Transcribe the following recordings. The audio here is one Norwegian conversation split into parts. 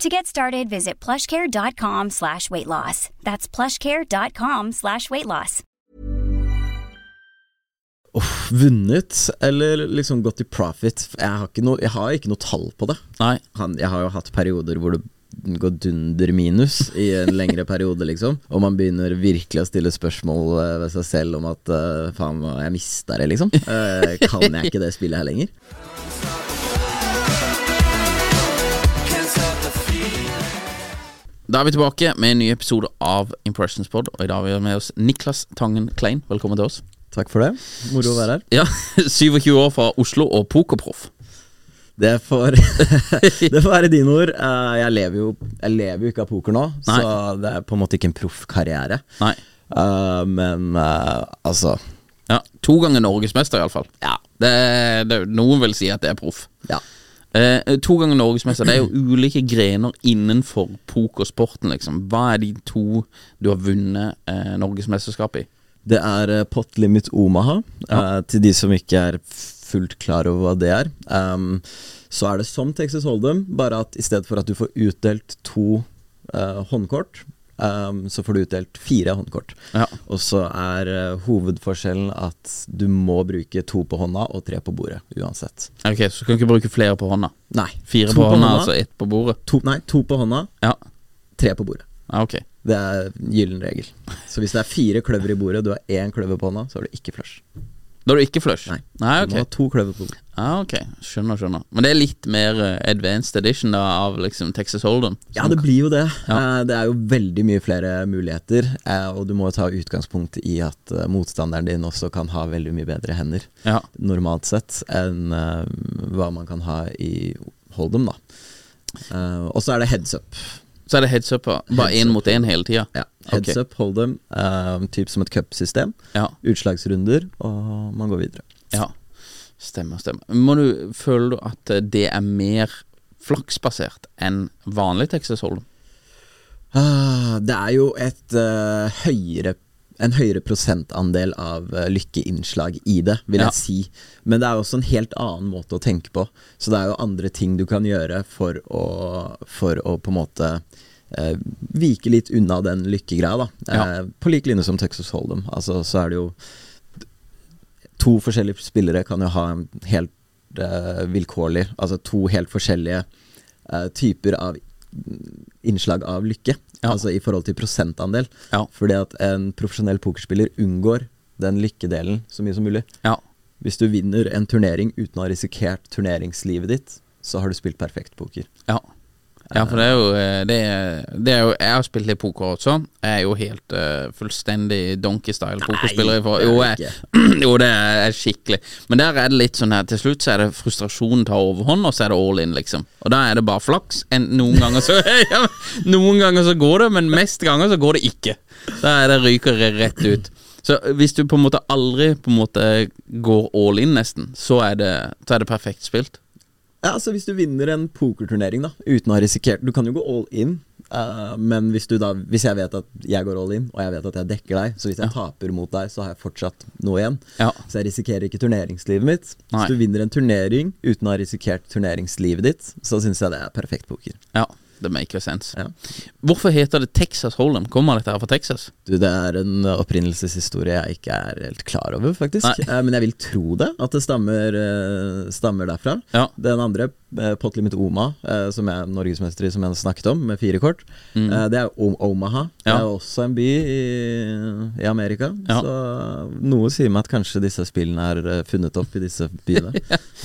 To get started, visit plushcare.com slash weight loss. That's plushcare.com slash weight loss. Uff, vunnet, eller liksom gått i profit? Jeg har ikke noe, jeg har ikke noe tall på det. Nei. Han, jeg har jo hatt perioder hvor det går dunder minus i en lengre periode, liksom. Og man begynner virkelig å stille spørsmål eh, ved seg selv om at eh, faen, jeg mista det, liksom. Eh, kan jeg ikke det spillet her lenger? Da er vi tilbake med en ny episode av Impressions Pod, og i dag har vi med oss Niklas Tangen Klein. Velkommen til oss. Takk for det. Moro å være her. Ja, 27 år fra Oslo og pokerproff. Det får, det får være dine ord. Eh, Jeg lever jo, jeg lever jo ikke av poker nå, så det er på en måte ikke en proffkarriere. Nei. Eh, men eh, altså Ja, To ganger norgesmester, iallfall. Ja. Det, det, noen vil si at det er proff. Ja. Eh, to ganger norgesmester. Det er jo ulike grener innenfor pokersporten, liksom. Hva er de to du har vunnet eh, norgesmesterskap i? Det er eh, Pot Limit Omaha. eh, til de som ikke er fullt klar over hva det er. Ehm, så er det som Texas Hold'em, bare at i stedet for at du får utdelt to eh, håndkort, ehm, så får du utdelt fire håndkort. Ja. Og så er eh, hovedforskjellen at du må bruke to på hånda og tre på bordet uansett. Ok, Så du kan ikke bruke flere på hånda? Nei, Fire to på, hånda, altså ett på bordet? to, nei, to på hånda, Ja, tre på bordet. ja ok. Det er gyllen regel. Så hvis det er fire kløver i bordet, du har én kløver på hånda, så har du ikke flush. Da er du ikke flush? Nei. Nei Du må ok. ha to kløver på bordet. Ah, ok, skjønner, skjønner. Men det er litt mer eh, advanced edition da, av liksom Texas Hold'em? Ja, det blir jo det. Ja. Eh, Det er jo veldig mye flere muligheter, eh, og du må jo ta utgangspunkt i at eh, motstanderen din også kan ha veldig mye bedre hender, Ja, normalt sett, enn eh, hva man kan ha i Hold'em, da. Eh, og så er det heads up. Så er det heads up, ja. bare Heads én up. mot én hele tida? Ja, heads Ok. up, Hold'em, eh, typ som et cupsystem. Ja, Utslagsrunder, og man går videre. ja. Stemmer, stemmer. Må du Føler du at eh, det er mer flaksbasert enn vanlig Texas Hold'em? Ah, det er jo et eh, høyere en høyere prosentandel av eh, lykkeinnslag i det, vil Ja. jeg si. Men det er jo også en helt annen måte å tenke på. Så det er jo andre ting du kan gjøre for å, for å på en måte eh, vike litt unna den lykkegreia, da. Ja. Eh, på lik linje som Texas Hold'em. Altså, så er det jo To forskjellige spillere kan jo ha en helt eh, vilkårlig Altså to helt forskjellige eh, typer av innslag av lykke. Ja. Altså i forhold til prosentandel. Ja. Fordi at en profesjonell pokerspiller unngår den lykkedelen så mye som mulig. Ja. Hvis du vinner en turnering uten å ha risikert turneringslivet ditt, så har du spilt perfekt poker. Ja. Ja, for det er jo eh, det er, det er jo, Jeg har spilt litt poker også. Jeg er jo helt eh, fullstendig donkey-style pokerspiller. For, det er jo, det jeg, jo, det er jeg skikkelig. Men der er det litt sånn her til slutt så er det frustrasjonen tar overhånd, og så er det all in, liksom. Og da er det bare flaks. En, noen, ganger så, ja, men noen ganger så går det, men mest ganger så går det ikke. Da er det ryker det rett ut. Så hvis du på en måte aldri på en måte går all in, nesten, så er det, så er det perfekt spilt. Ja, altså Hvis du vinner en pokerturnering da uten å ha risikert Du kan jo gå all in Eh, men hvis, du da, hvis jeg vet at jeg går all in, og jeg vet at jeg dekker deg, så hvis jeg taper mot deg, så har jeg fortsatt noe igjen. Ja. Så jeg risikerer ikke turneringslivet mitt. Nei. Hvis du vinner en turnering uten å ha risikert turneringslivet ditt, så syns jeg det er perfekt poker. Ja, det maker sense. Ja. Hvorfor heter det Texas Hold'em? Kommer dette her fra Texas? Du, Det er en opprinnelseshistorie jeg ikke er helt klar over, faktisk. Nei. Eh, Men jeg vil tro det, at det stammer, eh, stammer derfra. Ja. Den andre, eh, Pot Limit Oma, eh, som er norgesmester i, som jeg snakket om, med fire kort, eh, det er o- Omaha. Det Mm. Ja. er også en by i, i Amerika. Ja. Så noe sier meg at kanskje disse spillene er eh, funnet opp i disse byene.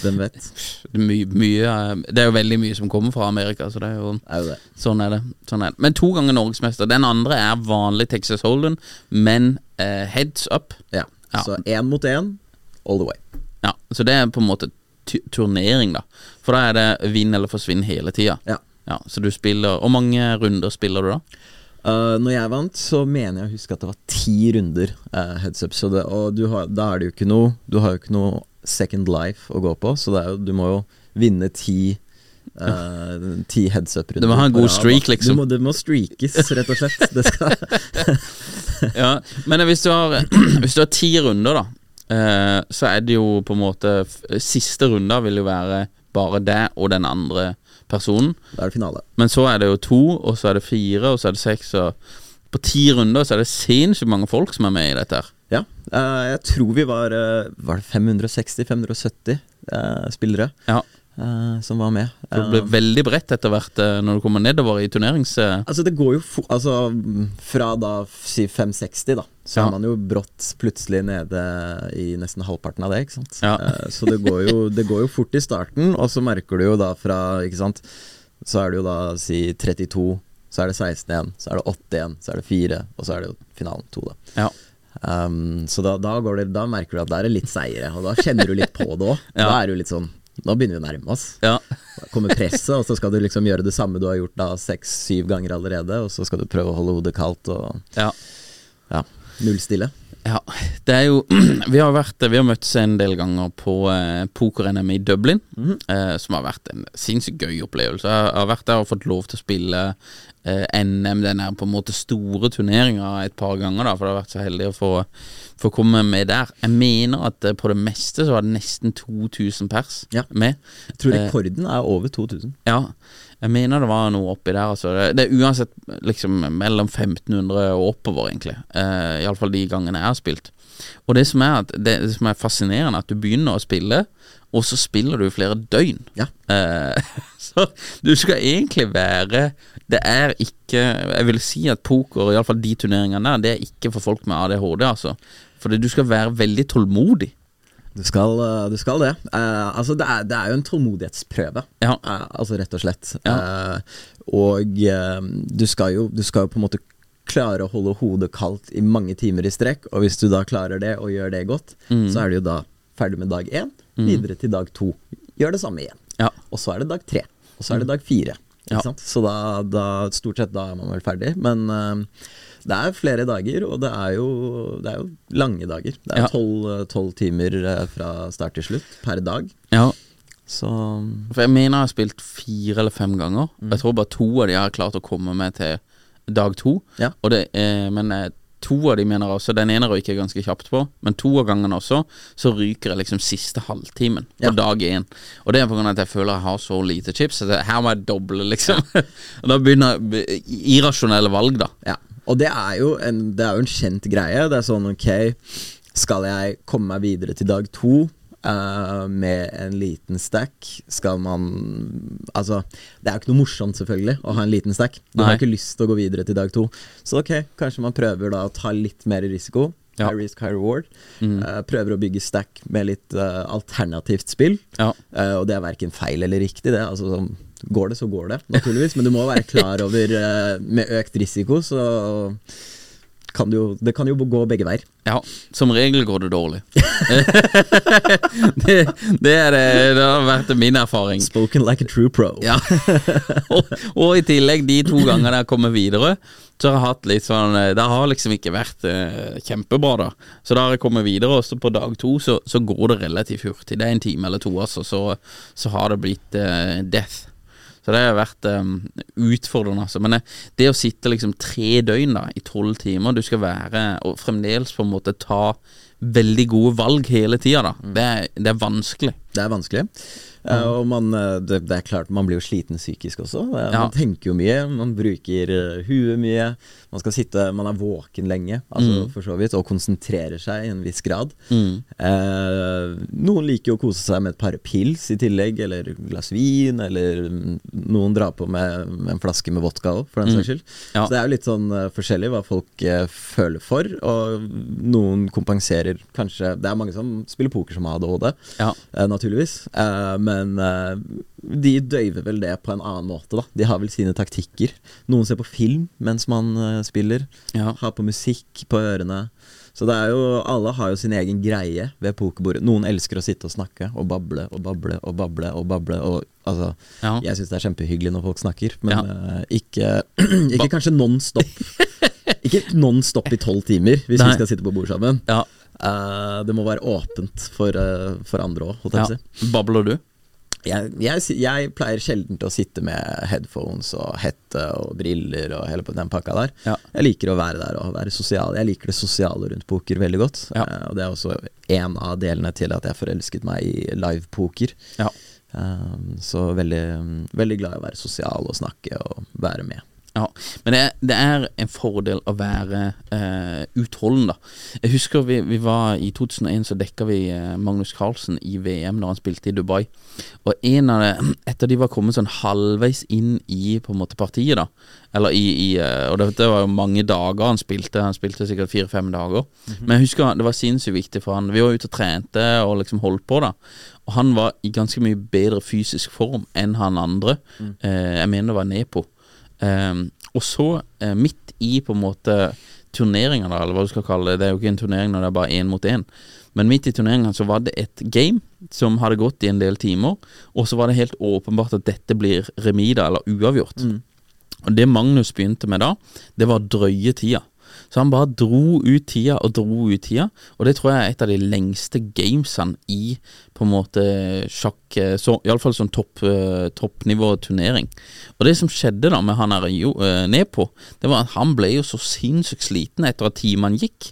Hvem vet? Det er, mye- mye, eh, det er jo veldig mye som kommer fra Amerika, så det er jo Er jo det. Sånn er det. Sånn er det. Men to ganger norgesmester. Den andre er vanlig Texas Hold'em, men eh, heads up. Ja. Ja. Så én mot én, all the way. Ja, Så det er på en måte tu- turnering, da. For da er det vinn eller forsvinn hele tida. Ja. Ja, så du spiller Hvor mange runder spiller du da? Uh, når jeg vant, så mener jeg å huske at det var ti runder uh, heads up. Så det, og du har, da er det jo ikke noe Du har jo ikke noe second life å gå på, så det er jo, du må jo vinne ti uh, Ti heads up-runder. Du må ha en på god rad, da. streak, liksom. Du må, det må streakes, rett og slett. Det skal, Ja, Men hvis du har Hvis du har ti runder, da, eh, så er det jo på en måte f- Siste runda vil jo være bare deg og den andre personen. da er det finale. Men så er det jo to, og så er det fire, og så er det seks, og på ti runder så er det sinnssykt mange folk som er med i dette her. Ja. Uh, jeg tror vi var uh, Var det 560-570 uh, spillere Ja, uh, som var med. for det ble Uh, veldig bredt etter hvert eh, når du kommer nedover i turnerings... eh, Altså det går jo fo altså, mm, Fra da f- si 560 da Så Ja. er man jo brått plutselig nede I nesten halvparten av det ikke sant Ja. Eh, Så det går, jo, det går jo fort i starten Og så merker du jo da fra Ikke sant Så er det jo da si 32 Så er det 16 igjen Så er det 8 igjen Så er det 4 Og så er det jo finalen 2 da Ja. Ehm, Så da, da, går det, da merker du at der er litt seire Og da kjenner du litt på det også Da Ja. er du litt sånn Nå begynner vi å nærme oss ja. da kommer presset, og så skal du liksom gjøre det samme du har gjort da seks-syv ganger allerede, og så skal du prøve å holde hodet kaldt og Ja. ja, nullstille. Ja, det er jo Vi har, vært, vi har møttes en del ganger på eh, poker-NM i Dublin, Mhm. eh, som har vært en sinnssykt gøy opplevelse. Jeg har vært der og fått lov til å spille eh, NM, den her på en måte store turneringa, et par ganger, da, for jeg har vært så heldig å få, få komme med der. Jeg mener at eh, på det meste så var det nesten 2000 pers Ja. med. Jeg tror Eh, rekorden er over 2000. ja, jeg mener det var noe oppi der. Altså. Det, det er uansett liksom mellom 1500 og oppover, egentlig. Eh, Iallfall de gangene jeg har spilt. Og det som, er at, det, det som er fascinerende, er at du begynner å spille, og så spiller du i flere døgn. Ja. Eh, så du skal egentlig være Det er ikke Jeg vil si at poker, iallfall de turneringene der, det er ikke for folk med ADHD, altså. Fordi du skal være veldig tålmodig. Du skal, eh, du skal det. Eh, altså det er, det er jo en tålmodighetsprøve, Ja. Eh, altså rett og slett. Ja. Eh, og eh, du, skal jo, du skal jo på en måte klare å holde hodet kaldt i mange timer i strekk, og hvis du da klarer det og gjør det godt, så er du jo da ferdig med dag én, videre til dag to. Gjør det samme igjen. Ja. Og så er det dag tre, og så er det dag fire. Ikke Mm. Ja. sant? Så da, da, stort sett da er man vel ferdig. Men eh, det er flere dager, og det er jo, det er jo lange dager. Det Ja. er tolv tolv timer eh, fra start til slutt per dag. ja. Så Mm. For jeg mener jeg har spilt fire eller fem ganger. Jeg tror bare to av de har klart å komme med til dag to. Ja. Og det, eh, men eh, to av de mener også Den ene røyker jeg ganske kjapt på, men to av gangene også, så ryker jeg liksom siste halvtimen på Ja. dag én. Og det er på grunn av at jeg føler jeg har så lite chips. At jeg- her må jeg doble, liksom. og da begynner be- irrasjonelle valg, da. ja. Og det er, jo en, det er jo en kjent greie. Det er sånn ok, skal jeg komme meg videre til dag to? eh, med en liten stack skal man Altså, det er jo ikke noe morsomt, selvfølgelig, å ha en liten stack. Du Nei. har ikke lyst til å gå videre til dag to. Så ok, kanskje man prøver da å ta litt mer risiko. Ja. Mm. High risk, high reward. Eh, prøver å bygge stack med litt eh, alternativt spill. Ja. Eh, og det er verken feil eller riktig, det. Altså, sånn, går det, så går det, naturligvis. Men du må være klar over eh, Med økt risiko, så kan det jo, det kan jo gå begge veier. Ja, som regel går det dårlig. det, det, er det, det har vært min erfaring. Spoken like a true pro. Ja. og, og i tillegg, de to gangene jeg har kommet videre, så har jeg hatt litt sånn eh, Det har liksom ikke vært eh, kjempebra, da. Så da har jeg kommet videre, og så på dag to så, så går det relativt hurtig. Det er en time eller to, altså. Så, så har det blitt eh, death. Så det har vært um, utfordrende, altså. Men eh, det å sitte liksom tre døgn da, i tolv timer, du skal være og fremdeles på en måte ta veldig gode valg hele tida, da. Det, er, det er vanskelig. Det er vanskelig. Mm. Eh, og man, eh, det, det er klart, man blir jo sliten psykisk også. Eh, Ja. Man tenker jo mye, man bruker eh, huet mye. Man skal sitte, man er våken lenge, altså, Mm. for så vidt, og konsentrerer seg i en viss grad. Eh, noen liker jo å kose seg med et par pils i tillegg, eller et glass vin, eller mm, noen drar på med en flaske med vodka òg, for den saks skyld. Mm. Så Ja. det er jo litt sånn eh, forskjellig hva folk eh, føler for, og noen kompenserer kanskje Det er mange som spiller poker som har ADHD. Ja. Eh, naturligvis. Eh, men eh, de døyver vel det på en annen måte, da. De har vel sine taktikker. Noen ser på film mens man eh, spiller. Ja. Har på musikk på ørene. Så det er jo, alle har jo sin egen greie ved pokerbordet. Noen elsker å sitte og snakke og bable og bable og bable. og bable og, altså, Ja. Jeg syns det er kjempehyggelig når folk snakker, men Ja. eh, ikke, ikke kanskje non stop. ikke non stop i tolv timer, hvis Nei. vi skal sitte på bord sammen. Ja. Eh, det må være åpent for, eh, for andre òg, holdt jeg ja. på å si. Babler du? Jeg, jeg, si- jeg pleier sjelden til å sitte med headphones og hette og briller og hele på den pakka der. Ja. Jeg liker å være der og være sosial. Jeg liker det sosiale rundt poker veldig godt. Ja. Eh, og det er også en av delene til at jeg forelsket meg i livepoker. Ja. Um, så veldig, veldig glad i å være sosial og snakke og være med. Ja, men det er, det er en fordel å være eh, utholden, da. Jeg husker vi, vi var i 2001, så dekka vi eh, Magnus Carlsen i VM når han spilte i Dubai. Og en av det, etter de var kommet sånn halvveis inn i på en måte partiet, da Eller i, i eh, Og det, det var jo mange dager han spilte, han spilte sikkert fire-fem dager. Men jeg husker det var sinnssykt viktig for han. Vi var ute og trente og liksom holdt på, da. Og han var i ganske mye bedre fysisk form enn han andre. Eh, jeg mener det var Nepo. Ehm, og så, eh, midt i på en måte turneringa, da, eller hva du skal kalle det, det er jo ikke en turnering når det er bare én mot én, men midt i turneringa så var det et game som hadde gått i en del timer, og så var det helt åpenbart at dette blir remis, da, eller uavgjort. Og det Magnus begynte med da, det var drøye tida. Så han bare dro ut tida og dro ut tida, og det tror jeg er et av de lengste gamesene i på en måte sjakk eh, så, Iallfall sånn topp, eh, toppnivå-turnering. Og det som skjedde da med han her jo, eh, nedpå, det var at han ble jo så sinnssykt sliten etter at timene gikk,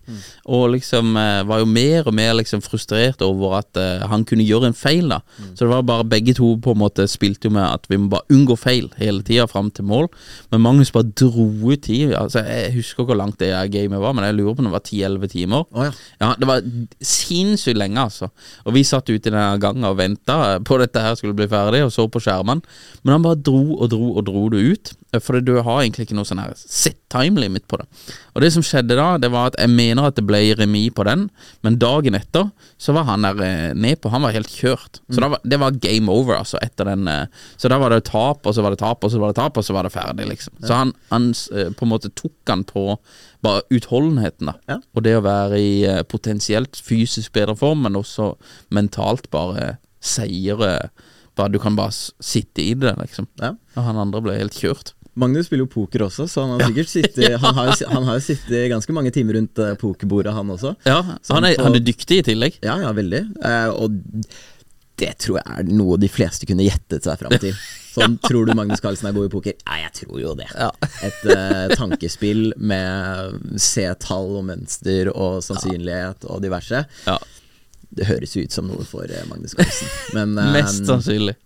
og liksom eh, var jo mer og mer liksom frustrert over at eh, han kunne gjøre en feil, da. Mm. Så det var bare begge to på en måte spilte jo med at vi må bare unngå feil hele tida fram til mål, men Magnus bare dro ut tid. Altså, jeg husker ikke hvor langt det her gamet var, men jeg lurer på om det var 10-11 timer. Å ja. Ja, det var sinnssykt lenge, altså. Og vi satt ute i denne gangen og venta på dette her skulle bli ferdig, og så på skjermene. Men han bare dro og dro og dro det ut. Eh, For du har egentlig ikke noe sånn her set time limit på det. Og det som skjedde da, det var at jeg mener at det ble remis på den, men dagen etter så var han der eh, nedpå. Han var helt kjørt. Så da var, det var game over, altså, etter den. eh, Så da var det tap, og så var det tap, og så var det tap, og så var det ferdig, liksom. Så han, han eh, på en måte tok han på bare utholdenheten, da. Ja. Og det å være i eh, potensielt fysisk bedre form, men også mentalt bare seire bare, Du kan bare s- sitte i det, liksom. Ja. Og han andre ble helt kjørt. Magnus spiller jo poker også, så han har sikkert sittet Han har, jo si- han har jo sittet ganske mange timer rundt eh, pokerbordet, han også. Ja, Så han er, på- han er dyktig i tillegg. Ja, ja, veldig. Eh, og det tror jeg er noe de fleste kunne gjettet seg fram til. Sånn, Tror du Magnus Carlsen er god i poker? Ja, jeg tror jo det. Et eh, tankespill med C-tall og mønster og sannsynlighet og diverse. Ja, Det høres jo ut som noe for eh, Magnus Carlsen. Men, eh, Mest sannsynlig.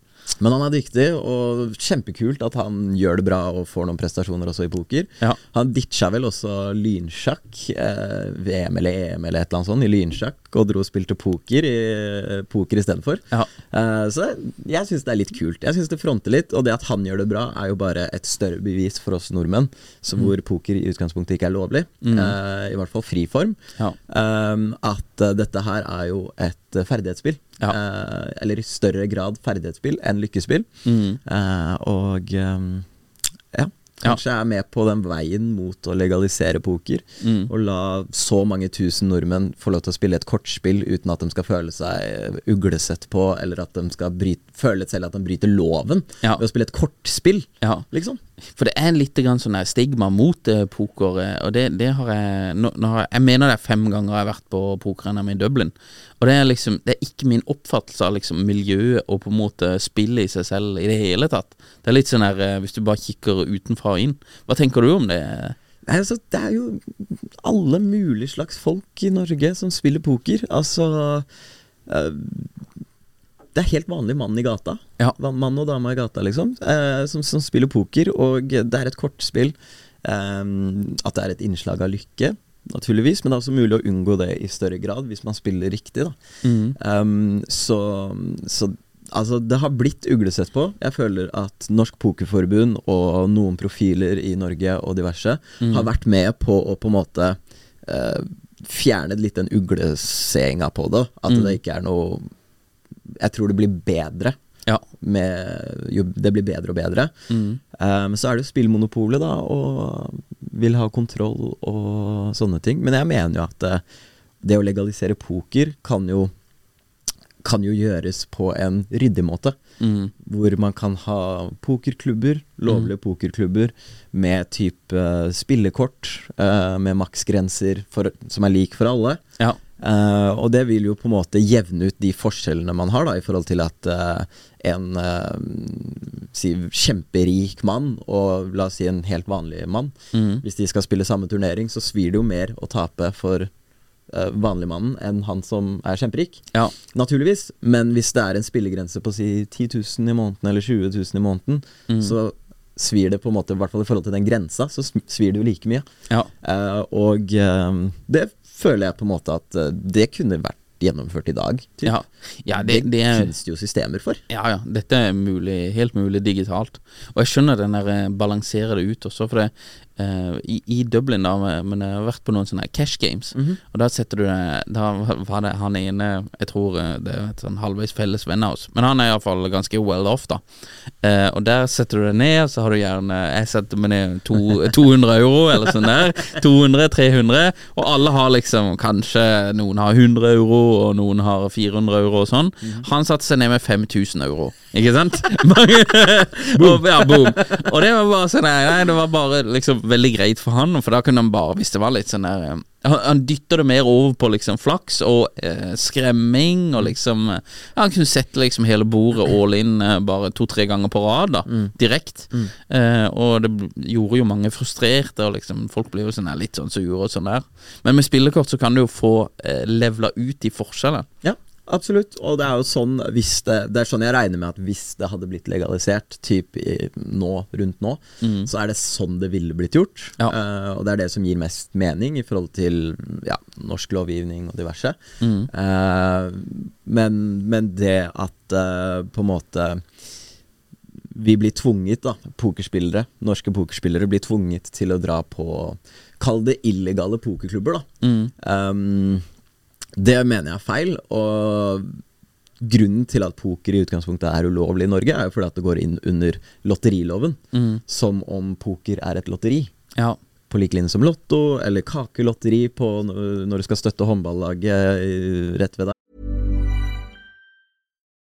men han er dyktig, og kjempekult at han gjør det bra og får noen prestasjoner også i poker. Ja. Han ditcha vel også lynsjakk, eh, VM eller EM eller et eller annet sånt, i lynsjakk, og dro og spilte poker i eh, poker istedenfor. Ja. Eh, så jeg syns det er litt kult. Jeg syns det fronter litt, og det at han gjør det bra, er jo bare et større bevis for oss nordmenn, Mm. så hvor poker i utgangspunktet ikke er lovlig, eh, i hvert fall fri form, Ja. eh, at eh, dette her er jo et eh, ferdighetsspill. Ja. Eh, eh, eller i større grad ferdighetsspill enn lykkespill. Mm. Eh, og eh, ja, kanskje er med på den veien mot å legalisere poker. Mm. Og la så mange tusen nordmenn få lov til å spille et kortspill uten at de skal føle seg eh, uglesett på, eller at de skal bryte, føle selv at de bryter loven Ja. ved å spille et kortspill, Ja. liksom. For det er litt grann sånn her stigma mot eh, poker, eh, og det, det har jeg nå, nå har jeg, jeg mener det er fem ganger jeg har vært på poker-NM i Dublin, og det er liksom Det er ikke min oppfattelse av liksom miljøet og på en måte spillet i seg selv i det hele tatt. Det er litt sånn her eh, Hvis du bare kikker utenfra og inn, hva tenker du om det? Nei, altså, det er jo alle mulige slags folk i Norge som spiller poker. Altså eh, Det er helt vanlig mann i gata. Ja. Va- Mann og dame i gata, liksom. eh, som, som spiller poker. Og det er et kortspill. eh, at det er et innslag av lykke, naturligvis. Men det er også mulig å unngå det i større grad hvis man spiller riktig, da. Um, så, så altså, det har blitt uglesett på. Jeg føler at Norsk Pokerforbund og noen profiler i Norge og diverse har vært med på å på en måte eh, fjerne litt den ugleseinga på det. At det ikke er noe Jeg tror det blir bedre. Ja. Med, jo, det blir bedre og bedre. Um, så er det jo spillmonopolet, da, og vil ha kontroll og sånne ting. Men jeg mener jo at eh, det å legalisere poker kan jo kan jo gjøres på en ryddig måte. Hvor man kan ha pokerklubber, lovlige pokerklubber, med type spillekort, eh, med maksgrenser for, som er lik for alle. Ja. Eh, og det vil jo på en måte jevne ut de forskjellene man har, da, i forhold til at eh, en eh, si, kjemperik mann og la oss si en helt vanlig mann, hvis de skal spille samme turnering, så svir det jo mer å tape for eh, vanligmannen enn han som er kjemperik. Ja. Naturligvis, men hvis det er en spillegrense på si 10 000 i måneden eller 20 000 i måneden, så svir det på en måte, i hvert fall i forhold til den grensa, så sm- svir det jo like mye. Ja. Eh, og eh, det føler jeg på en måte at eh, det kunne vært gjennomført i dag. typ. Ja, ja det, det er finnes det jo systemer for. Ja, ja. Dette er mulig, helt mulig digitalt. Og jeg skjønner den der eh, balansere det ut også, for det eh, i, I Dublin, da, med- men jeg har vært på noen sånne cash games, og da setter du det Da var det han ene Jeg tror eh, det er et sånn halvveis felles venn av oss, men han er iallfall ganske well off, da. Eh, og der setter du det ned, så har du gjerne Jeg setter meg ned to, 200 euro, eller sånn der. 200-300, og alle har liksom kanskje Noen har 100 euro, og noen har 400 euro og sånn. Han satte seg ned med 5000 euro, ikke sant? Mange- og, ja, boom. Og det var bare sånn nei, nei, det var bare liksom veldig greit for han, for da kunne han bare, hvis det var litt sånn der eh, han, han dytter det mer over på liksom flaks og eh, skremming og liksom eh, Han kunne sette liksom hele bordet all in eh, bare to-tre ganger på rad, da. Direkte. Eh, og det bl- gjorde jo mange frustrerte, og liksom folk blir jo sånn her litt sånn sure og sånn der. Men med spillekort så kan du jo få eh, levela ut de forskjellene. Ja, absolutt. Og det er jo sånn hvis det, det er sånn jeg regner med at hvis det hadde blitt legalisert typ i, nå, rundt nå, så er det sånn det ville blitt gjort. Mm. Ja. Eh, og det er det som gir mest mening i forhold til ja, norsk lovgivning og diverse. Mm. Eh, men, men det at eh, på en måte vi blir tvunget, da, pokerspillere, norske pokerspillere blir tvunget til å dra på Kall det illegale pokerklubber, da. Um, det mener jeg er feil, og grunnen til at poker i utgangspunktet er ulovlig i Norge, er jo fordi at det går inn under lotteriloven, som om poker er et lotteri. Ja. På lik linje som Lotto, eller kakelotteri på n- når du skal støtte håndballaget eh, rett ved deg.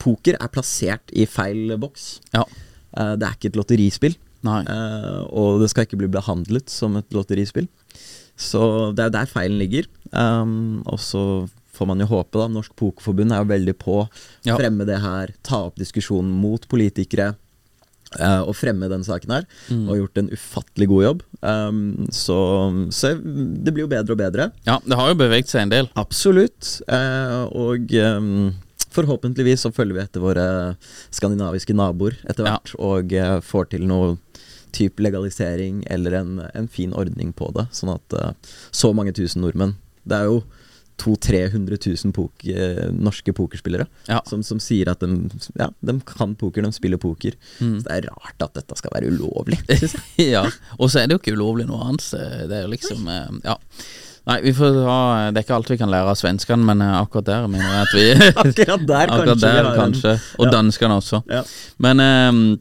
poker er plassert i feil boks. Ja. Eh, Det er ikke et lotterispill. Nei. Eh, og det skal ikke bli behandlet som et lotterispill. Så det er jo der feilen ligger. Um, og så får man jo håpe, da. Norsk Pokerforbund er jo veldig på å Ja. fremme det her, ta opp diskusjonen mot politikere. eh, og fremme den saken her, Mm. og gjort en ufattelig god jobb. Um, så, så det blir jo bedre og bedre. Ja, det har jo beveget seg en del. Absolutt. Eh, og eh, forhåpentligvis så følger vi etter våre skandinaviske naboer etter Ja. hvert, og eh, får til noe type legalisering eller en, en fin ordning på det, sånn at eh, så mange tusen nordmenn Det er jo 200 000-300 000 pok eh, norske pokerspillere Ja. som, som sier at de, ja, de kan poker, de spiller poker. Mm. Så det er rart at dette skal være ulovlig. ja. Og så er det jo ikke ulovlig noe annet. så Det er jo liksom eh, Ja. Nei, vi får ta Det er ikke alt vi kan lære av svenskene, men eh, akkurat der mener jeg at vi Akkurat der kanskje Akkurat vi der, har en- kanskje. Og Ja. danskene også. Ja. Men eh,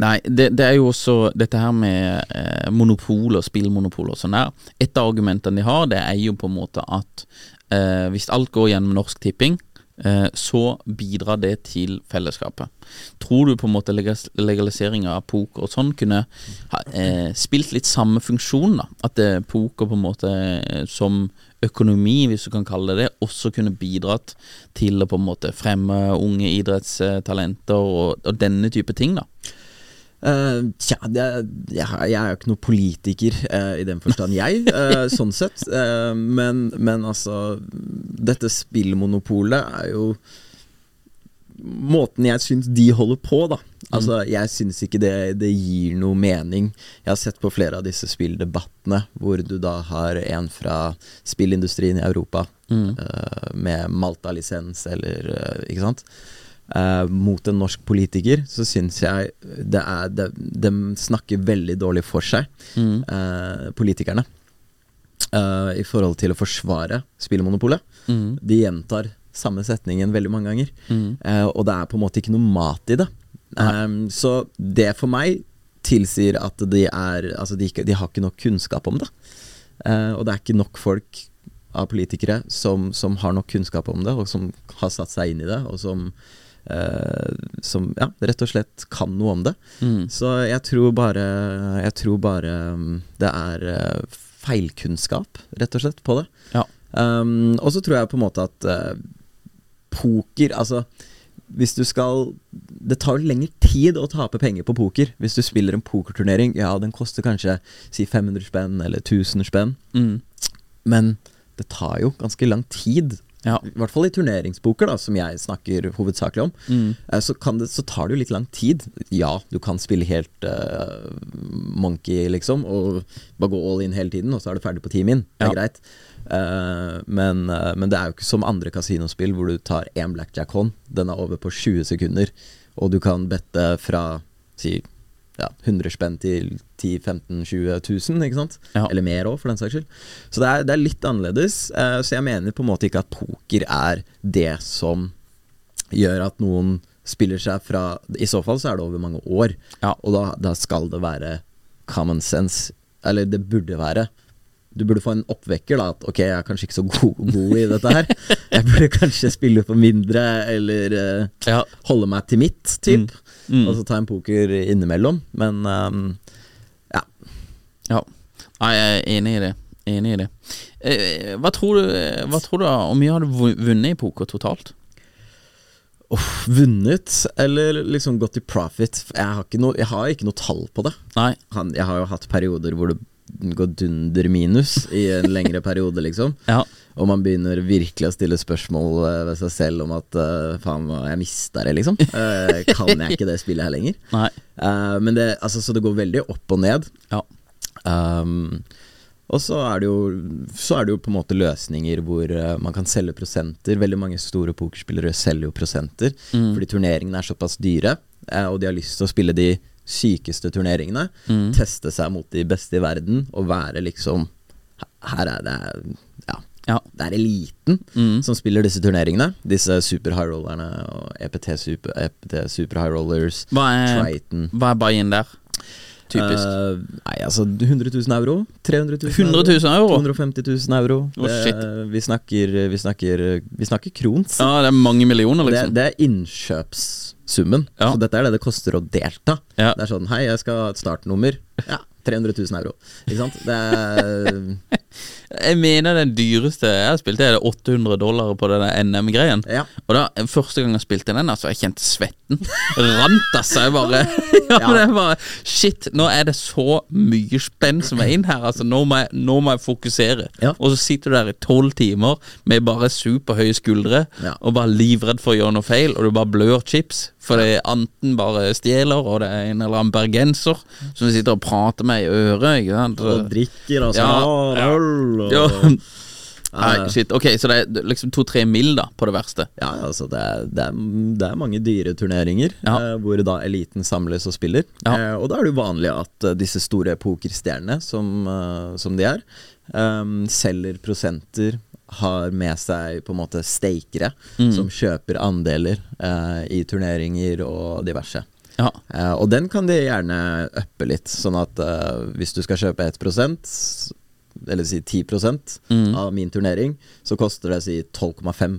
Nei, det, det er jo også dette her med eh, monopol og spillmonopol og sånn der. Et av argumentene de har, det er jo på en måte at eh, hvis alt går gjennom Norsk Tipping, eh, så bidrar det til fellesskapet. Tror du på en måte legas- legalisering av poker og sånn kunne ha, eh, spilt litt samme funksjon, da? At eh, poker på en måte eh, som økonomi, hvis du kan kalle det det, også kunne bidratt til å på en måte fremme unge idrettstalenter og, og denne type ting, da? Eh, tja, det, er- jeg, har- jeg er jo ikke noen politiker eh, i den forstand, jeg, eh, sånn sett. Eh, men, men altså, dette spillmonopolet er jo måten jeg syns de holder på, da. Altså, jeg syns ikke det, det gir noe mening. Jeg har sett på flere av disse spilldebattene hvor du da har en fra spillindustrien i Europa eh, med Malta-lisens eller eh, Ikke sant? Eh, mot en norsk politiker, så syns jeg det er de, de snakker veldig dårlig for seg, eh, politikerne eh, i forhold til å forsvare spillmonopolet. De gjentar samme setningen veldig mange ganger, eh, og det er på en måte ikke noe mat i det. Ehm, så det for meg tilsier at de er Altså, de, ikke, de har ikke nok kunnskap om det. Eh, og det er ikke nok folk av politikere som, som har nok kunnskap om det, og som har satt seg inn i det, og som eh, som ja, rett og slett kan noe om det. Mm. Så jeg tror bare Jeg tror bare mm, det er eh, feilkunnskap, rett og slett, på det. Ja. Um, og så tror jeg på en måte at eh, poker Altså, hvis du skal Det tar jo lengre tid å tape penger på poker. Hvis du spiller en pokerturnering, ja, den koster kanskje si 500 spenn eller 1000 spenn, Mm. men det tar jo ganske lang tid. Ja. I hvert fall i turneringspoker, da, som jeg snakker hovedsakelig om, Mm. eh, så, kan det, så tar det jo litt lang tid. Ja, du kan spille helt eh, monkey, liksom, og bare gå all in hele tiden, og så er du ferdig på ti min. Det er Ja. greit. Eh, men, eh, men det er jo ikke som andre kasinospill, hvor du tar én blackjack-hånd, den er over på 20 sekunder, og du kan bette fra si ja, 100 spenn til 10 15 20 000, ikke sant? Ja. Eller mer òg, for den saks skyld. Så det er, det er litt annerledes. eh, så jeg mener på en måte ikke at poker er det som gjør at noen spiller seg fra I så fall så er det over mange år, Ja. og da, da skal det være common sense. Eller det burde være. Du burde få en oppvekker, da. At ok, jeg er kanskje ikke så god, god i dette her. Jeg burde kanskje spille for mindre, eller eh, Ja. holde meg til mitt, typ. Og så ta en poker innimellom. Men ehm, Ja. Nei, jeg er enig i det. Enig i det. Eh, hva, tror du, eh, hva tror du om vi hadde vu- vunnet i poker totalt? uff, vunnet, eller liksom gått i profit Jeg har ikke noe, jeg har ikke noe tall på det. Nei. Han, jeg har jo hatt perioder hvor det går dunder minus i en lengre periode, liksom. Ja. Og man begynner virkelig å stille spørsmål eh, ved seg selv om at eh, faen, jeg mista det, liksom. Eh, kan jeg ikke det spillet her lenger? Nei. Eh, men det, altså, så det går veldig opp og ned. Ja. Um, og så er, det jo, så er det jo på en måte løsninger hvor eh, man kan selge prosenter. Veldig mange store pokerspillere selger jo prosenter Mm. fordi turneringene er såpass dyre, eh, og de har lyst til å spille de sykeste turneringene. Mm. Teste seg mot de beste i verden og være liksom Her er det Ja. Ja. Det er eliten Mm. som spiller disse turneringene. Disse super high rollerne og EPT super, EPT super high rollers, Hva er, Triton hva er buy-in der? Typisk. Eh, nei, altså 100 000 euro. 300 000 100 000 euro? 250 000 euro. Å, shit. Det- vi, snakker, vi, snakker, vi snakker krons. ja, det er mange millioner, Det, liksom. det er innkjøps... summen. Ja. Så dette er det det koster å delta. Ja. Det er sånn Hei, jeg skal ha et startnummer. Ja, 300 000 euro. Ikke sant? Det er Jeg mener den dyreste jeg har spilt, det er 800 dollar på den NM-greien. Ja. Og da, første gang jeg spilte den, altså, jeg kjente svetten rant av seg bare. ja, Ja. Det var, shit, nå er det så mye spenn som er inn her, altså, nå må jeg, nå må jeg fokusere. Ja. Og så sitter du der i tolv timer med bare superhøye skuldre, Ja. og bare livredd for å gjøre noe feil, og du bare blør chips, for det er anten bare stjeler, og det er en eller annen bergenser som sitter og prater med i øret, ikke sant. Og drikker, altså. Ja, Har ja. øl og Ja. ja. Nei, shit. Ok, så det er liksom to-tre mil da, på det verste. altså det er, det, er, det er mange dyre turneringer Ja. eh, hvor da eliten samles og spiller. Ja. Eh, og da er det jo vanlig at eh, disse store pokerstjernene, som, eh, som de er, eh, selger prosenter, har med seg på en måte stakere Mm. som kjøper andeler eh, i turneringer og diverse. Ja. Eh, og den kan de gjerne uppe litt, sånn at eh, hvis du skal kjøpe 1 eller si 10 Mm. av min turnering, så koster det si 12,5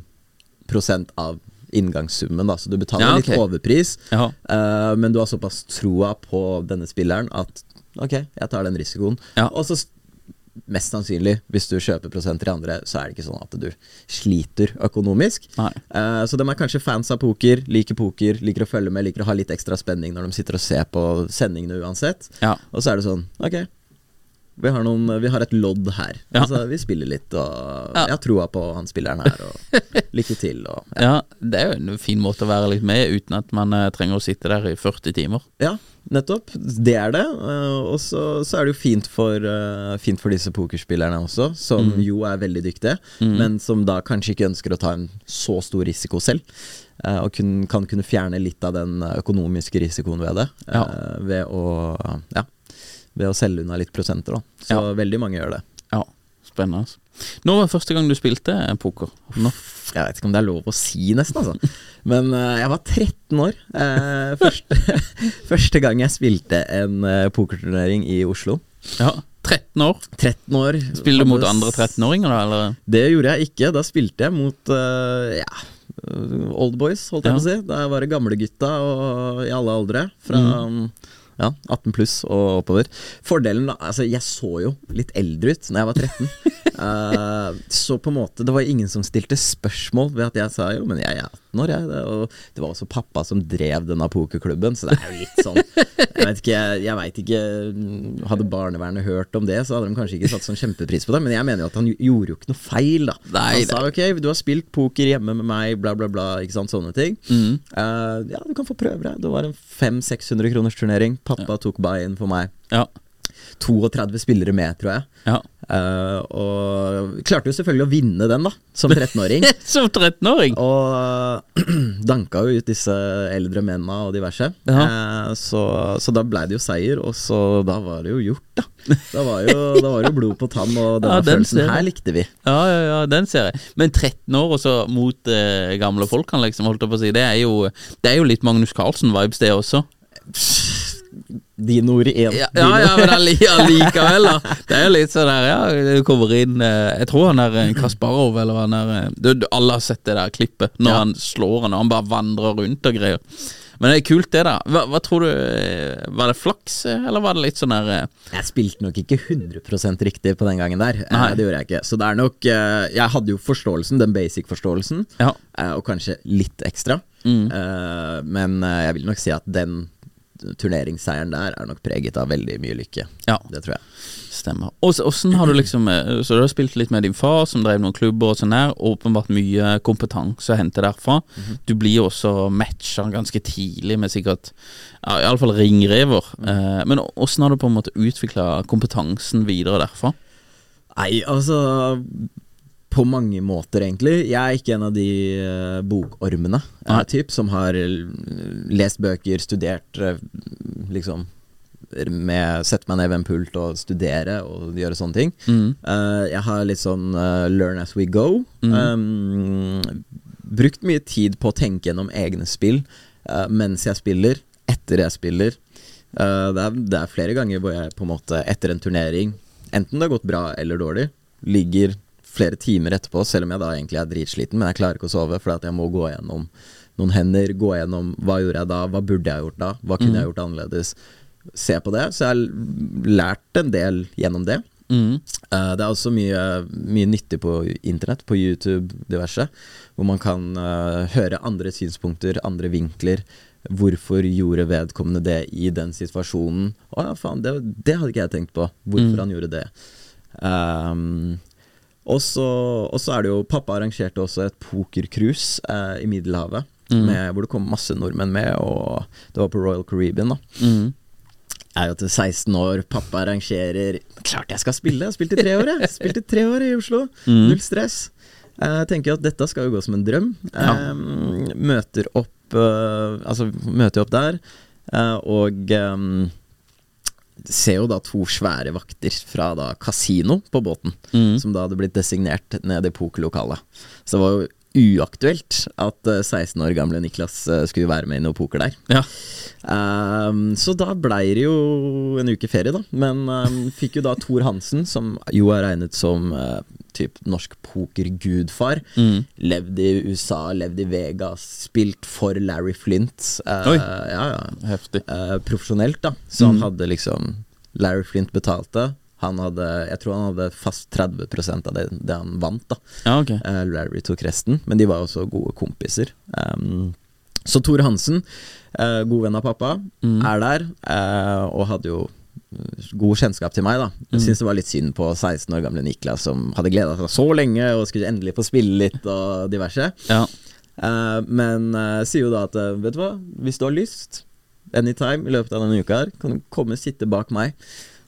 av inngangssummen. Da. Så du betaler Ja, ok. litt overpris, Ja. eh, men du har såpass troa på denne spilleren at ok, jeg tar den risikoen. Ja. Og så s- mest sannsynlig, hvis du kjøper prosenter i andre, så er det ikke sånn at du sliter økonomisk. Nei. Eh, så de er kanskje fans av poker, liker poker, liker å følge med, liker å ha litt ekstra spenning når de sitter og ser på sendingene uansett. Ja. Og så er det sånn, ok, vi har, noen, vi har et lodd her. Ja. Altså, vi spiller litt, og Ja. jeg har troa på han spilleren her, og lykke til, og ja, det er jo en fin måte å være litt med uten at man eh, trenger å sitte der i 40 timer. Ja, nettopp. Det er det. Eh, Og så, så er det jo fint for, eh, fint for disse pokerspillerne også, som Mm. jo er veldig dyktige, men som da kanskje ikke ønsker å ta en så stor risiko selv. eh, Og kun, kan kunne fjerne litt av den økonomiske risikoen ved det. eh, Ja. Ved å ja, ved å selge unna litt prosenter, da. Så Ja. veldig mange gjør det. Ja, spennende. altså. Når var første gang du spilte eh, poker? Nå. Jeg vet ikke om det er lov å si, nesten, altså. Men eh, jeg var 13 år. eh, første, første gang jeg spilte en eh, pokerturnering i Oslo. Ja, 13 år. 13 år. Spiller du mot Hadde s- andre 13-åringer da, eller? Det gjorde jeg ikke. Da spilte jeg mot eh, ja, eh, old boys, holdt jeg Ja. på å si. Da var det gamlegutta i alle aldre. Fra mm. ja, 18 pluss og oppover. Fordelen da, altså Jeg så jo litt eldre ut Når jeg var 13. Eh, så på en måte det var ingen som stilte spørsmål ved at jeg sa jo, men jeg er 18 år, jeg. Det, og det var også pappa som drev denne pokerklubben, så det er jo litt sånn Jeg vet ikke, jeg, jeg vet ikke mm, Hadde barnevernet hørt om det, så hadde de kanskje ikke satt sånn kjempepris på det, men jeg mener jo at han jo- gjorde jo ikke noe feil, da. Nei, han sa ok, du har spilt poker hjemme med meg, bla, bla, bla, ikke sant, sånne ting. Mm. Eh, ja, du kan få prøve deg. Det var en 500-600 kroners turnering. Pappa tok buy-in for meg. Ja. 32 spillere med, tror jeg. ja. Eh, og klarte jo selvfølgelig å vinne den, da, som 13-åring. Som 13-åring? Og danka jo ut disse eldre menna og diverse. Eh, så, så da blei det jo seier, og så da var det jo gjort, da. Da var jo, da var det jo blod på tann, og denne Ja, den ser følelsen jeg. her likte vi. Ja, ja, ja, den ser jeg. Men 13 år og så mot eh, gamle folk, han liksom, holdt jeg på å si. Det er jo, det er jo litt Magnus Carlsen-vibes, det også. Dine ord igjen. Ja, ja, ja, men alli- allikevel, da. Det er jo litt sånn der, ja, du kommer inn eh, Jeg tror han er eh, Kasparov, eller han er eh, du, du, Alle har sett det der klippet, når Ja. han slår han, og han bare vandrer rundt og greier. Men det er kult, det, da. Hva, hva tror du eh, Var det flaks, eh, eller var det litt sånn der eh, Jeg spilte nok ikke 100 riktig på den gangen der. Eh, Nei. Det gjorde jeg ikke. Så det er nok eh, Jeg hadde jo forståelsen, den basic-forståelsen, Ja. Mm. eh, og kanskje litt ekstra. Eh, Men eh, jeg vil nok si at den turneringsseieren der er nok preget av veldig mye lykke. Ja. Det tror jeg. Stemmer. Og så- Åssen har du liksom eh, Så du har spilt litt med din far, som drev noen klubber og sånn her. Åpenbart mye kompetanse å hente derfra. Du blir jo også matcha ganske tidlig med sikkert ja, Iallfall ringrever. Eh, Men å- åssen har du på en måte utvikla kompetansen videre derfra? Nei, altså På mange måter, egentlig. Jeg er ikke en av de eh, bokormene eh, Nei. typ, som har eh, lest bøker, studert eh, liksom med sette meg ned ved en pult og studere og gjøre sånne ting. Eh, jeg har litt sånn eh, learn as we go. Um, brukt mye tid på å tenke gjennom egne spill eh, mens jeg spiller, etter jeg spiller. Eh, det, er, det er flere ganger hvor jeg på en måte etter en turnering, enten det har gått bra eller dårlig, ligger flere timer etterpå, selv om jeg da egentlig er dritsliten, men jeg klarer ikke å sove fordi at jeg må gå gjennom noen hender, gå gjennom hva gjorde jeg da, hva burde jeg gjort da, hva kunne jeg gjort annerledes. Se på det. Så jeg har lært en del gjennom det. Eh, det er også mye, mye nyttig på internett, på YouTube, diverse, hvor man kan eh, høre andre synspunkter, andre vinkler. Hvorfor gjorde vedkommende det i den situasjonen? Å ja, faen, det, det hadde ikke jeg tenkt på. Hvorfor han gjorde det. Ehm, og så og så er det jo Pappa arrangerte også et pokercruise eh, i Middelhavet, med, hvor det kom masse nordmenn med, og det var på Royal Caribbean. da jeg er jo til 16 år, pappa arrangerer Klart jeg skal spille! Jeg har spilt i tre år, jeg. Spilt i tre år i Oslo. Null stress. Eh, Jeg tenker jo at dette skal jo gå som en drøm. Eh, møter opp eh, Altså, møter jeg opp der, eh, og eh, ser jo da to svære vakter fra da kasino på båten, som da hadde blitt designert nede i pokerlokalet. Så det var jo uaktuelt at eh, 16 år gamle Niklas eh, skulle være med i noe poker der. Ja. Ehm, så da blei det jo en uke ferie, da. Men ehm, fikk jo da Thor Hansen, som jo er regnet som eh, typ norsk pokergudfar. Levd i USA, levd i Vegas, spilt for Larry Flint. eh, Oi. Ja, ja. Heftig. Eh, profesjonelt, da. Så han hadde liksom Larry Flint betalte. Han hadde, jeg tror han hadde fast 30 av det, det han vant, da. Ja, ok. Eh, Larry tok resten, men de var jo også gode kompiser. Ehm, så Tor Hansen, eh, god venn av pappa, er der, eh, og hadde jo eh, god kjennskap til meg, da. Jeg syns det var litt synd på 16 år gamle Niklas, som hadde gleda seg så lenge og skulle endelig få spille litt og diverse. Ja. Eh, men eh, sier jo da at eh, vet du hva, hvis du har lyst, anytime i løpet av denne uka her, kan du komme og sitte bak meg.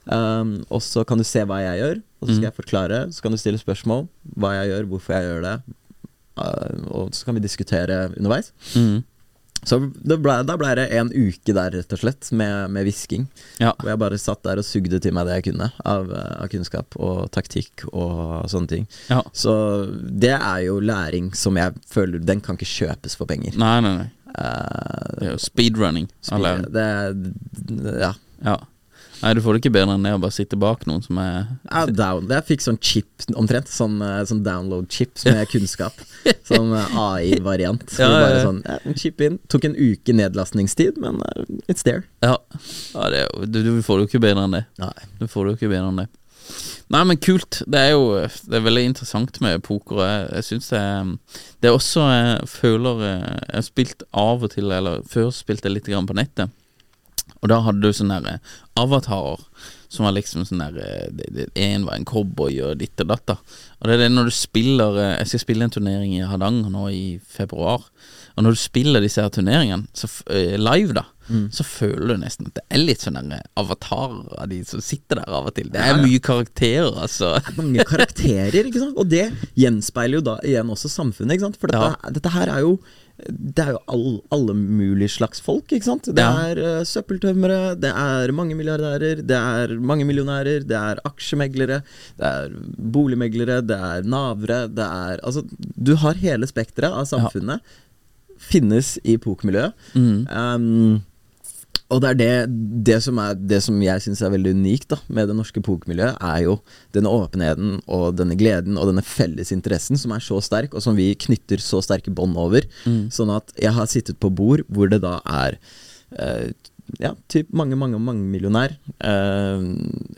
Um, og så kan du se hva jeg gjør, og så skal jeg forklare. Så kan du stille spørsmål hva jeg gjør, hvorfor jeg gjør det. eh, og så kan vi diskutere underveis. Mm. Så det ble, da ble det en uke der, rett og slett, med, med hvisking. Ja. Hvor jeg bare satt der og sugde til meg det jeg kunne av, eh, av kunnskap og taktikk og sånne ting. Ja. Så det er jo læring som jeg føler Den kan ikke kjøpes for penger. Nei, nei, nei. Eh, Det er jo speedrunning. Eller, det, det- ja. ja. Nei, du får det ikke bedre enn det å bare sitte bak noen som er Ja, down. Jeg fikk sånn chip omtrent, sånn, eh, sånn download-chip med kunnskap. Sånn eh, AI-variant. Hvor Ja, ja, bare ja. Sånn, ja, chip inn. Tok en uke nedlastningstid, men eh, it's there. Ja, ja det, er jo- du, du får det jo ikke bedre enn det. Nei. Du får det jo ikke bedre enn det. Nei, men kult. Det er jo eh, Det er veldig interessant med poker. og Jeg, jeg syns det er mm, Det er også Jeg føler eh, Jeg har spilt av og til, eller før spilte jeg litt grann på nettet, og da hadde du sånne her, eh, avatarer. Som var liksom sånn der Én var en cowboy og ditt og datt. da. Og det er det når du spiller eh, Jeg skal spille en turnering i Hardanger nå i februar. Og når du spiller disse her turneringene så, f- eh, live, da, så føler du nesten at det er litt sånn der, eh, avatarer av de som sitter der av og til. Det er mye karakterer, altså. Mange karakterer, ikke sant? og det gjenspeiler jo da igjen også samfunnet. ikke sant? For dette, dette her er jo Det er jo all, alle mulige slags folk. ikke sant? Det Ja. er eh, søppeltømmere, det er mange milliardærer, det er mange millionærer, det er aksjemeglere, det er boligmeglere, det er navere, det er Altså, du har hele spekteret av samfunnet. Finnes i pokermiljøet. Um, og det er det, det, som er, det som jeg syns er veldig unikt da, med det norske pokermiljøet, er jo denne åpenheten og denne gleden og denne fellesinteressen som er så sterk, og som vi knytter så sterke bånd over. Sånn at jeg har sittet på bord hvor det da er eh, ja, typ mange, mange, mange millionær. Eh,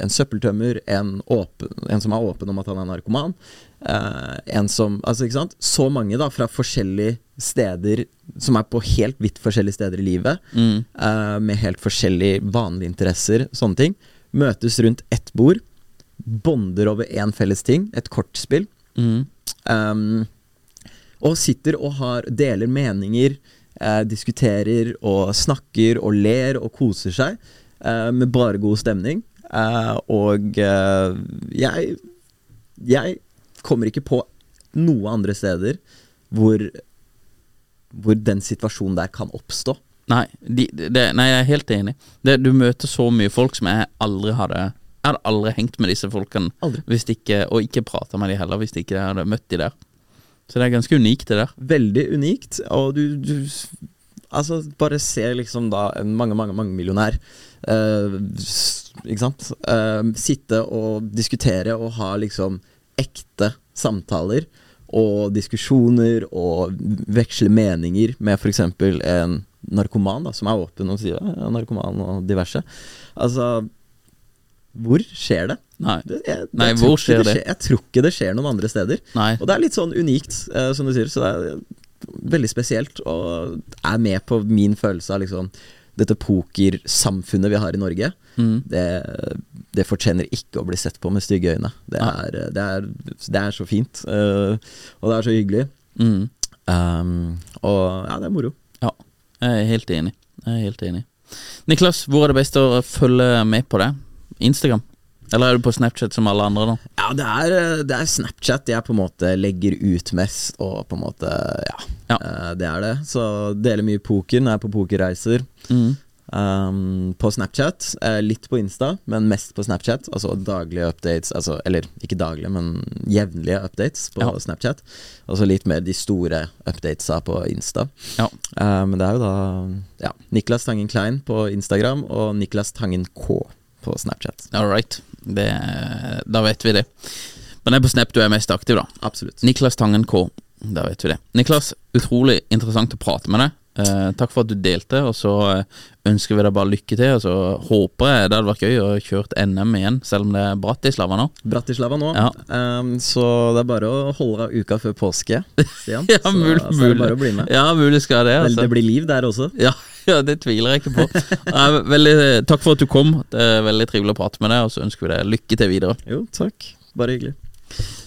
en søppeltømmer, en, åpen, en som er åpen om at han er narkoman. Eh, en som Altså, ikke sant. Så mange, da, fra forskjellige steder som er på helt vidt forskjellige steder i livet. Eh, med helt forskjellige vanlige interesser, sånne ting. Møtes rundt ett bord. Bonder over én felles ting, et kortspill. Um, og sitter og har, deler meninger, eh, diskuterer og snakker og ler og koser seg eh, med bare god stemning. Eh, og eh, jeg, jeg kommer ikke på noe andre steder hvor, hvor den situasjonen der kan oppstå. Nei, de, det, nei, jeg er helt enig. Det, du møter så mye folk som jeg aldri hadde Jeg hadde aldri hengt med disse folkene, Aldri. Hvis det ikke, og ikke prata med de heller, hvis det ikke jeg hadde møtt de der. Så det er ganske unikt, det der. Veldig unikt, og du, du Altså, bare se liksom da en mange, mange, mange millionær eh, s- Ikke sant? Eh, sitte og diskutere og ha liksom ekte samtaler og diskusjoner og veksle meninger med f.eks. en narkoman da, som er åpen og sier ja, jeg er narkoman og diverse. Altså, hvor skjer det? Nei. Det- jeg, Nei, jeg hvor tror ikke skjer det? det? skjer- Jeg tror ikke det skjer noen andre steder. Nei. Og det er litt sånn unikt, eh, som du sier, så det er veldig spesielt, og er med på min følelse av liksom dette pokersamfunnet vi har i Norge. Det, det fortjener ikke å bli sett på med stygge øyne. Det er, det er, det er så fint, eh, og det er så hyggelig. Um, og ja, det er moro. Ja, jeg er helt enig. Jeg er helt enig. Niklas, hvor er det best å følge med på deg? Instagram? Eller er du på Snapchat som alle andre nå? Ja, det er, eh, det er Snapchat jeg på en måte legger ut mest, og på en måte, ja. Ja. eh, Det er det. Så deler mye poker når jeg er på pokerreiser. Mm. Um, på Snapchat. eh, litt på Insta, men mest på Snapchat. Altså daglige updates, altså, eller ikke daglige, men jevnlige updates på Ja. Snapchat. Og så litt mer de store updatesa på Insta. Ja. Eh, men det er jo da ja, Niklas Tangen Klein på Instagram og Niklas Tangen K på Snapchat. All right. Det, da vet vi det. Men det er på Snap du er mest aktiv, da. Absolutt. Niklas Tangen K. Da vet vi det. Niklas, utrolig interessant å prate med deg. Eh, takk for at du delte, og så eh, ønsker vi deg bare lykke til. Og så håper jeg det hadde vært gøy å kjørt NM igjen, selv om det er Bratislava nå. Bratislava nå, Ja. ehm, så det er bare å holde av uka før påske. Stian. Ja, så, mul- så er det mulig. bare å bli med. Ja, mulig skal det. Vel, Altså. det blir liv der også. Ja, ja, det tviler jeg ikke på. Eh, Veldig, takk for at du kom. Det er Veldig trivelig å prate med deg, og så ønsker vi deg lykke til videre. Jo, takk. Bare hyggelig.